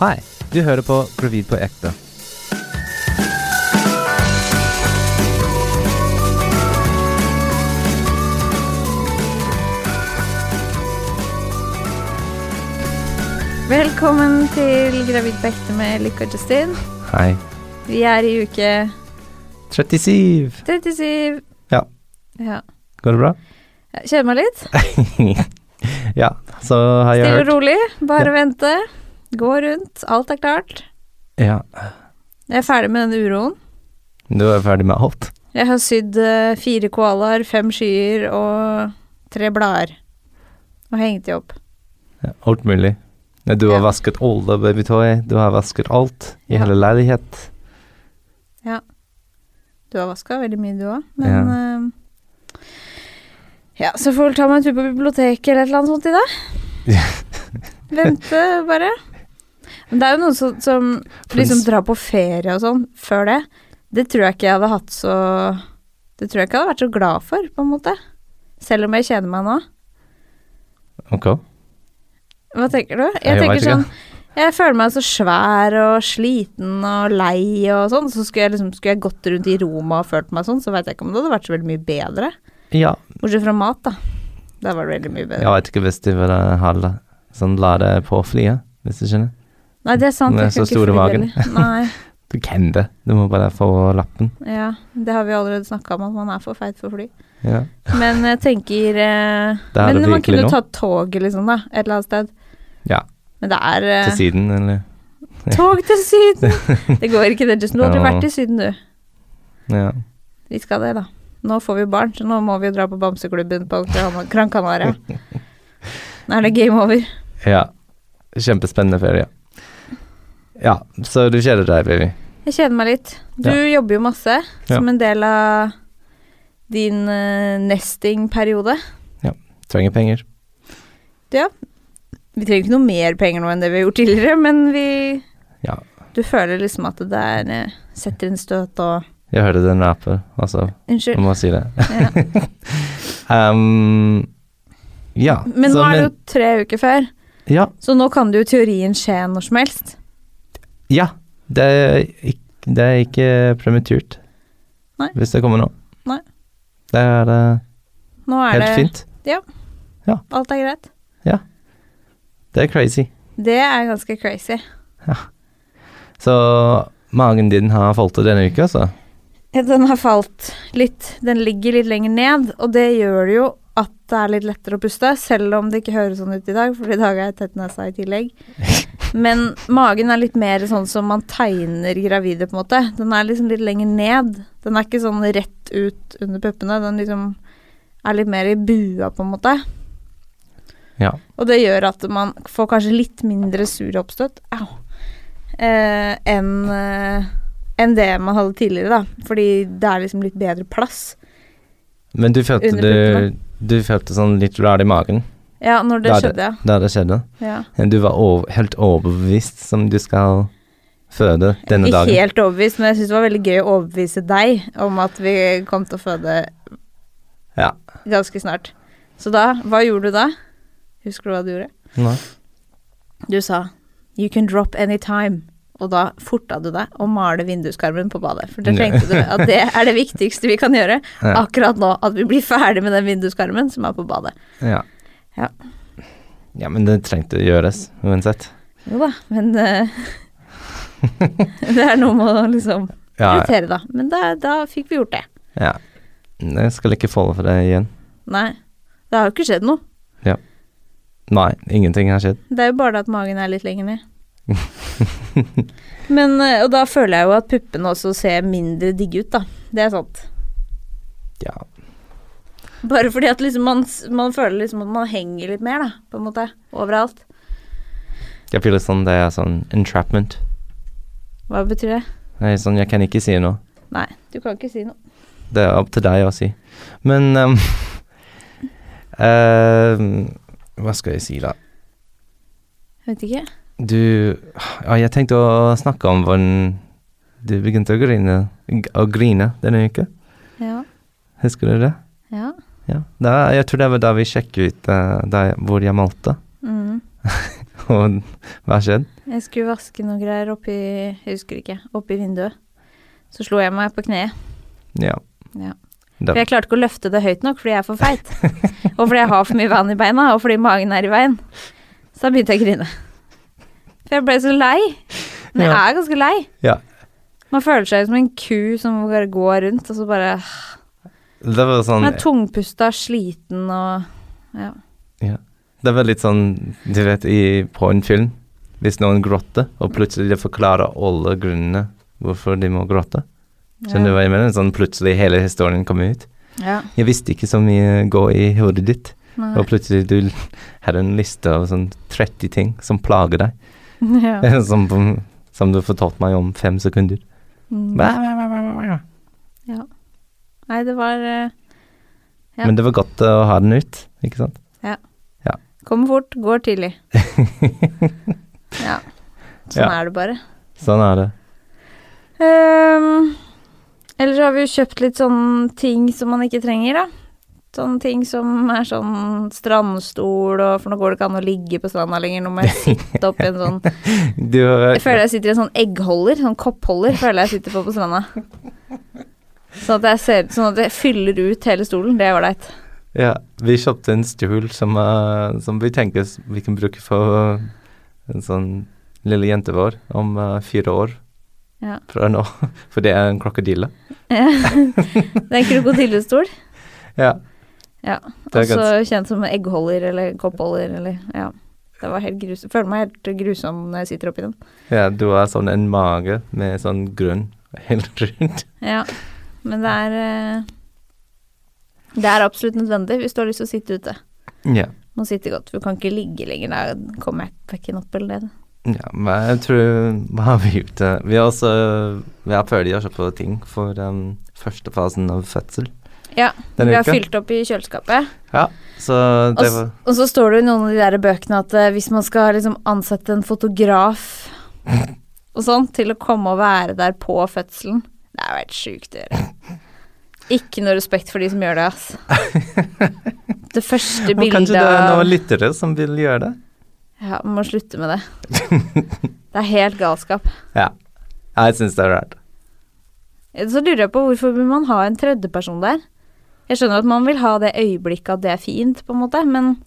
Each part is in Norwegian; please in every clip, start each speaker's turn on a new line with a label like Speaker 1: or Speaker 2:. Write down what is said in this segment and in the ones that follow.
Speaker 1: Hei, du hører på Gravid på ekte.
Speaker 2: Velkommen til Gravid på ekte med Lykke og Justin.
Speaker 1: Hei.
Speaker 2: Vi er i uke
Speaker 1: 37.
Speaker 2: 37.
Speaker 1: Ja.
Speaker 2: Ja.
Speaker 1: Går det bra?
Speaker 2: Jeg Kjeder meg litt.
Speaker 1: ja, så har jeg
Speaker 2: Stille og
Speaker 1: hørt
Speaker 2: rolig. Bare vente. Gå rundt. Alt er klart.
Speaker 1: Ja,
Speaker 2: Jeg er ferdig med den uroen.
Speaker 1: du er ferdig med alt.
Speaker 2: Jeg har sydd eh, fire koalaer, fem skyer og tre blader. Og hengt de opp.
Speaker 1: Ja, alt mulig. Nei, Du har
Speaker 2: Ja.
Speaker 1: vasket alle babytøy, du har vasket alt i
Speaker 2: Ja.
Speaker 1: hele leilighet.
Speaker 2: Du har vaska veldig mye, du òg, men eh, Ja, så får du ta meg en tur på biblioteket eller et eller annet sånt i dag. Vente, bare. Men det er jo noen som, som
Speaker 1: For
Speaker 2: liksom
Speaker 1: en s-
Speaker 2: drar på ferie og sånn før det. Det tror jeg ikke jeg hadde hatt så Det tror jeg ikke jeg hadde vært så glad for, på en måte. Selv om jeg kjeder meg nå.
Speaker 1: Ok,
Speaker 2: Hva tenker du? Jeg,
Speaker 1: Jeg vet
Speaker 2: tenker
Speaker 1: ikke.
Speaker 2: sånn Jeg føler meg så svær og sliten og lei og sånn. Så skulle jeg liksom Skulle jeg gått rundt i Roma og følt meg sånn, så veit jeg ikke om det hadde vært så veldig mye bedre.
Speaker 1: ja.
Speaker 2: Bortsett fra mat, da. Der var det veldig mye bedre.
Speaker 1: Jeg vet ikke hvis du vil eh, ha la- sånn lade på flyet, hvis du skjønner.
Speaker 2: Nei, det er sant.
Speaker 1: Med
Speaker 2: jeg kan
Speaker 1: så
Speaker 2: ikke
Speaker 1: store
Speaker 2: fly
Speaker 1: magen.
Speaker 2: heller. Nei,
Speaker 1: Du kan det, du må bare få lappen.
Speaker 2: ja. Det har vi allerede snakka om, at man er for feit for fly.
Speaker 1: Ja.
Speaker 2: Men jeg tenker eh,
Speaker 1: Det er
Speaker 2: Men
Speaker 1: det
Speaker 2: man
Speaker 1: virkelig
Speaker 2: kunne
Speaker 1: nå.
Speaker 2: ta toget, liksom, da. Et eller annet sted.
Speaker 1: Ja.
Speaker 2: Men det er eh,
Speaker 1: Til siden, eller?
Speaker 2: Tog til Syden! Det går ikke, det. Just, du har aldri
Speaker 1: Ja.
Speaker 2: vært i Syden, du.
Speaker 1: Ja.
Speaker 2: Vi skal det, da. Nå får vi barn, så nå må vi jo dra på bamseklubben på Gran Gran Canaria. Nå er det game over.
Speaker 1: Ja. Kjempespennende ferie. Ja, så du kjeder deg, baby.
Speaker 2: Jeg kjeder meg litt. Du jobber jo masse som en del av din eh, nesting-periode.
Speaker 1: Trenger penger.
Speaker 2: Vi trenger ikke noe mer penger nå enn det vi har gjort tidligere, men vi
Speaker 1: Ja.
Speaker 2: Du føler liksom at det der eh, setter inn støt og
Speaker 1: Jeg hørte den rappen, altså. Jeg
Speaker 2: Unnskyld.
Speaker 1: må si det.
Speaker 2: Ja.
Speaker 1: Ehm, ja.
Speaker 2: Men
Speaker 1: Mm.
Speaker 2: nå
Speaker 1: så,
Speaker 2: er det jo tre uker før,
Speaker 1: ja,
Speaker 2: så nå kan det jo i teorien skje når som helst.
Speaker 1: ja. Det er, ikke, det er ikke prematurt.
Speaker 2: Nei.
Speaker 1: Hvis det kommer nå.
Speaker 2: Nei.
Speaker 1: Det er eh,
Speaker 2: Nå er
Speaker 1: helt
Speaker 2: det
Speaker 1: fint.
Speaker 2: Alt er greit.
Speaker 1: Det er crazy.
Speaker 2: Det er ganske crazy.
Speaker 1: Så magen din har falt til denne uka, altså.
Speaker 2: Ja, Den har falt litt. Den ligger litt lenger ned, og det gjør det jo at det er litt lettere å puste, selv om det ikke høres sånn ut i dag, for i dag er jeg tett nesa i tillegg. Men magen er litt mer sånn som man tegner gravide, på en måte. Den er liksom litt lenger ned. Den er ikke sånn rett ut under puppene. Den liksom er litt mer i bua, på en måte.
Speaker 1: Ja.
Speaker 2: Og det gjør at man får kanskje litt mindre sure oppstøt Au. Eh, enn eh, enn det man hadde tidligere, da. Fordi det er liksom litt bedre plass.
Speaker 1: Men du følte,
Speaker 2: Under
Speaker 1: du, du følte sånn litt rar i magen
Speaker 2: Ja, når det
Speaker 1: Da er det-
Speaker 2: skjedde,
Speaker 1: da det skjedde?
Speaker 2: ja. ja.
Speaker 1: Men Du var over, helt overbevist som du skal føde denne
Speaker 2: Ikke
Speaker 1: dagen.
Speaker 2: helt overbevist, men jeg syns det var veldig gøy å overbevise deg om at vi kom til å føde
Speaker 1: Ja.
Speaker 2: ganske snart. Så da, hva gjorde du da? Husker du hva du gjorde?
Speaker 1: Nei.
Speaker 2: Du sa 'you can drop anytime', og da forta du deg og male vinduskarmen på badet. For det
Speaker 1: Ja.
Speaker 2: tenkte du at det er det viktigste vi kan gjøre
Speaker 1: Ja.
Speaker 2: akkurat nå. At vi blir ferdig med den vinduskarmen som er på badet.
Speaker 1: Ja.
Speaker 2: Ja.
Speaker 1: Ja, men det trengte å gjøres uansett.
Speaker 2: Jo da, men eh, Det er noe med å liksom
Speaker 1: Ja,
Speaker 2: prioritere, da. Men da, da fikk vi gjort det.
Speaker 1: ja. Jeg skal ikke falle for det igjen.
Speaker 2: Nei. Det har jo ikke skjedd noe.
Speaker 1: Nei, ingenting har skjedd.
Speaker 2: Det er jo bare det at magen er litt lenger ned. Men, eh, og da føler jeg jo at puppene også ser mindre digge ut, da. Det er sant.
Speaker 1: Ja.
Speaker 2: Bare fordi at liksom man, man føler liksom at man henger litt mer, da, på en måte. Overalt.
Speaker 1: Jeg føler sånn det er sånn entrapment.
Speaker 2: Hva betyr det?
Speaker 1: Nei, sånn jeg kan ikke si noe.
Speaker 2: Nei, du kan ikke si noe.
Speaker 1: Det er opp til deg å si. Men um, eh, Hva skal jeg si, da?
Speaker 2: Jeg vet ikke.
Speaker 1: Du Ja, jeg tenkte å snakke om hvordan du begynte å grine, å grine denne uka.
Speaker 2: Ja.
Speaker 1: Husker du det?
Speaker 2: Ja.
Speaker 1: Ja. Da, jeg tror det var da vi sjekket ut eh, da, jeg- hvor jeg malte.
Speaker 2: Mm.
Speaker 1: og hva skjedde?
Speaker 2: Jeg skulle vaske noe greier oppi Jeg husker ikke. Oppi vinduet. Så slo jeg meg på kneet.
Speaker 1: Ja.
Speaker 2: Ja.
Speaker 1: Da,
Speaker 2: For jeg klarte ikke å løfte det høyt nok fordi jeg er for feit. og fordi jeg har for mye vann i beina, og fordi magen er i veien. Så da begynte jeg å grine. For jeg ble så lei. Men jeg
Speaker 1: Ja.
Speaker 2: er ganske lei.
Speaker 1: Ja.
Speaker 2: Man føler seg som en ku som bare går rundt, og så bare
Speaker 1: det var sånn
Speaker 2: Man er tungpusta, sliten og ja.
Speaker 1: Det var litt sånn, du vet, i, på en film, hvis noen gråter, og plutselig de forklarer alle grunnene hvorfor de må gråte. Skjønner du hva jeg mener? Sånn plutselig hele historien kommer ut.
Speaker 2: Ja.
Speaker 1: Jeg visste ikke så mye gå i hodet ditt,
Speaker 2: Nei.
Speaker 1: og plutselig du l- hadde en liste av sånn 30 ting som plager deg,
Speaker 2: ja.
Speaker 1: som, som du fortalte meg om fem sekunder.
Speaker 2: Mm.
Speaker 1: Bæ, bæ, bæ, bæ, bæ, bæ.
Speaker 2: Nei, det var eh, Ja.
Speaker 1: Men det var godt å ha den ut, ikke sant?
Speaker 2: Kommer fort, går tidlig. ja. Sånn
Speaker 1: Ja.
Speaker 2: er det bare.
Speaker 1: Sånn er det.
Speaker 2: Ehm, Eller så har vi jo kjøpt litt sånn ting som man ikke trenger, da. Sånne ting som er sånn strandstol, og for nå går det ikke an å ligge på stranda lenger. Nå må jeg sitte opp i en sånn
Speaker 1: Du,
Speaker 2: Jeg føler jeg sitter i en sånn eggholder, sånn koppholder, føler jeg sitter på på stranda. Sånn at jeg ser ut sånn at jeg fyller ut hele stolen. Det er ålreit.
Speaker 1: Ja, vi kjøpte en stol som, eh, som vi tenker s- vi kan bruke for eh, en sånn lille jente vår om eh, fire år
Speaker 2: Ja.
Speaker 1: fra nå, for det er en krokodille.
Speaker 2: Ja. Det er en krokodillestol.
Speaker 1: Ja.
Speaker 2: Ja,
Speaker 1: Det er
Speaker 2: Også kjent som eggholder eller koppholder eller Ja. Det var helt grusom. Føler meg helt grusom når jeg sitter oppi den.
Speaker 1: ja, du har sånn en mage med sånn grunn helt rundt.
Speaker 2: Ja. Men det er eh, Det er absolutt nødvendig hvis du har lyst til å sitte ute.
Speaker 1: Ja.
Speaker 2: Må sitte godt. for Du kan ikke ligge lenger. Da kommer jeg fucking opp eller det.
Speaker 1: ja, men jeg tror Hva har vi gjort? eh, Vi har også Vi har ferdig å kjøpe ting for um, første fasen av fødsel
Speaker 2: Ja. Vi
Speaker 1: denne
Speaker 2: har
Speaker 1: uka.
Speaker 2: fylt opp i kjøleskapet.
Speaker 1: Så
Speaker 2: Og,
Speaker 1: det
Speaker 2: s-
Speaker 1: var
Speaker 2: og så står det jo i noen av de der bøkene at eh, hvis man skal liksom ansette en fotograf og sånn til å komme og være der på fødselen Det er jo helt sjukt å gjøre. Ikke noe respekt for de som gjør det, ass. Det første
Speaker 1: Og
Speaker 2: bildet
Speaker 1: Kanskje det er
Speaker 2: av
Speaker 1: noen lyttere som vil gjøre det?
Speaker 2: Ja, man må slutte med det. Det er helt galskap.
Speaker 1: Ja, jeg syns det er rart.
Speaker 2: Så lurer jeg på hvorfor vil man ha en tredjeperson der? Jeg skjønner at man vil ha det øyeblikket at det er fint, på en måte, men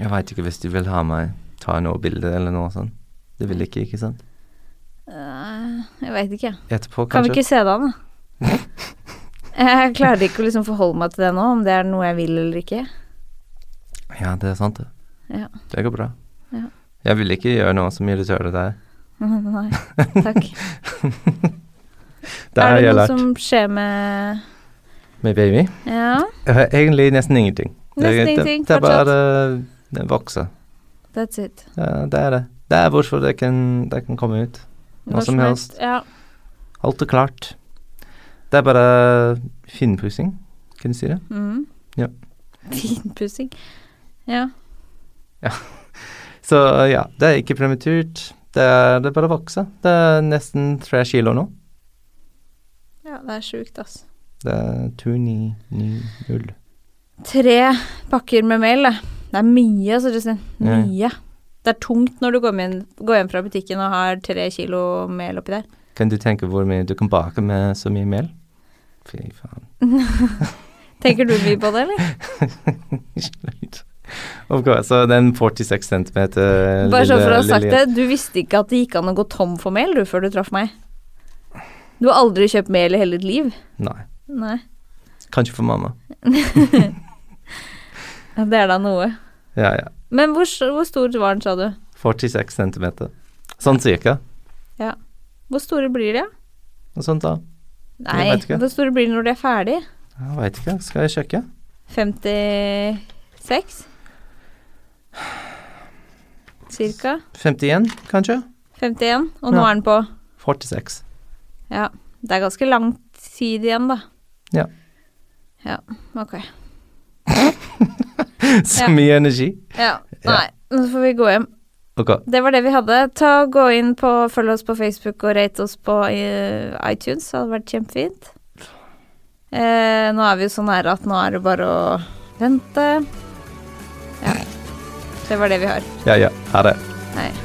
Speaker 1: Jeg veit ikke hvis de vil ha meg ta noe bilde eller noe sånt. Det vil de ikke, ikke sant?
Speaker 2: øh, Jeg veit ikke.
Speaker 1: Etterpå,
Speaker 2: Kan vi
Speaker 1: kanskje?
Speaker 2: ikke se det an, da? Jeg klarer ikke å liksom forholde meg til det nå, om det er noe jeg vil eller ikke.
Speaker 1: Ja, det er sant, det.
Speaker 2: Ja.
Speaker 1: Det går bra.
Speaker 2: Ja.
Speaker 1: Jeg vil ikke gjøre noe som irriterer deg.
Speaker 2: Nei, takk.
Speaker 1: Det
Speaker 2: er
Speaker 1: har
Speaker 2: det
Speaker 1: jeg
Speaker 2: noe
Speaker 1: lært
Speaker 2: som skjer med
Speaker 1: med baby.
Speaker 2: Ja,
Speaker 1: Eh, Egentlig nesten ingenting. Det er-
Speaker 2: Nesten
Speaker 1: det-
Speaker 2: ingenting,
Speaker 1: Det er
Speaker 2: fortsatt.
Speaker 1: bare eh, det vokser.
Speaker 2: that's it.
Speaker 1: Ja, det er det. Det er hvorfor det kan, det kan komme ut. Hva som helst.
Speaker 2: Ja.
Speaker 1: Alt er klart. Det er bare finpussing, kan du si det?
Speaker 2: Mm.
Speaker 1: Ja.
Speaker 2: Finpussing. Ja.
Speaker 1: Så ja, det er ikke prematurt. Det er, det er bare å vokse. Det er nesten tre kilo nå.
Speaker 2: ja, det er sjukt, ass.
Speaker 1: Det er 2990.
Speaker 2: Tre pakker med mel, det. Det er mye, altså, Justin.
Speaker 1: Ja.
Speaker 2: Mye. Det er tungt når du går hjem, går hjem fra butikken og har tre kilo mel oppi der.
Speaker 1: Kan du tenke hvor mye du kan bake med så mye mel? Fy faen.
Speaker 2: Tenker du mye på det, eller?
Speaker 1: Slutt. of course. Så den 46 cm Eh,
Speaker 2: Bare sånn for å ha sagt det, du visste ikke at det gikk an å gå tom for mel du, før du traff meg. Du har aldri kjøpt mel i hele ditt liv.
Speaker 1: Nei.
Speaker 2: Nei.
Speaker 1: Kanskje for mamma.
Speaker 2: Ja, Det er da noe.
Speaker 1: Ja, ja.
Speaker 2: Men hvor, s- hvor stor var den, sa du?
Speaker 1: 46 cm. Sånn cirka.
Speaker 2: Hvor store blir de?
Speaker 1: Noe sånt, sånn da.
Speaker 2: Nei,
Speaker 1: Jeg vet ikke.
Speaker 2: hvor store blir de når de er ferdig?
Speaker 1: Jeg veit ikke. Skal jeg sjekke?
Speaker 2: 56? Cirka?
Speaker 1: 51, kanskje?
Speaker 2: 51? Og nå
Speaker 1: Ja.
Speaker 2: er den på
Speaker 1: 46.
Speaker 2: Ja. Det er ganske lang tid igjen, da.
Speaker 1: Ja.
Speaker 2: Ja, ok.
Speaker 1: Så
Speaker 2: Ja.
Speaker 1: mye energi.
Speaker 2: Ja, nei. Nå får vi gå hjem.
Speaker 1: Ok.
Speaker 2: Det var det vi hadde. Ta og Gå inn på, Følg oss på Facebook og rate oss på eh, iTunes. Det hadde vært kjempefint. Eh, nå er vi jo så nære at nå er det bare å vente. Ja.
Speaker 1: Det var det vi har.
Speaker 2: Ja, ja. Ha det.
Speaker 1: Nei.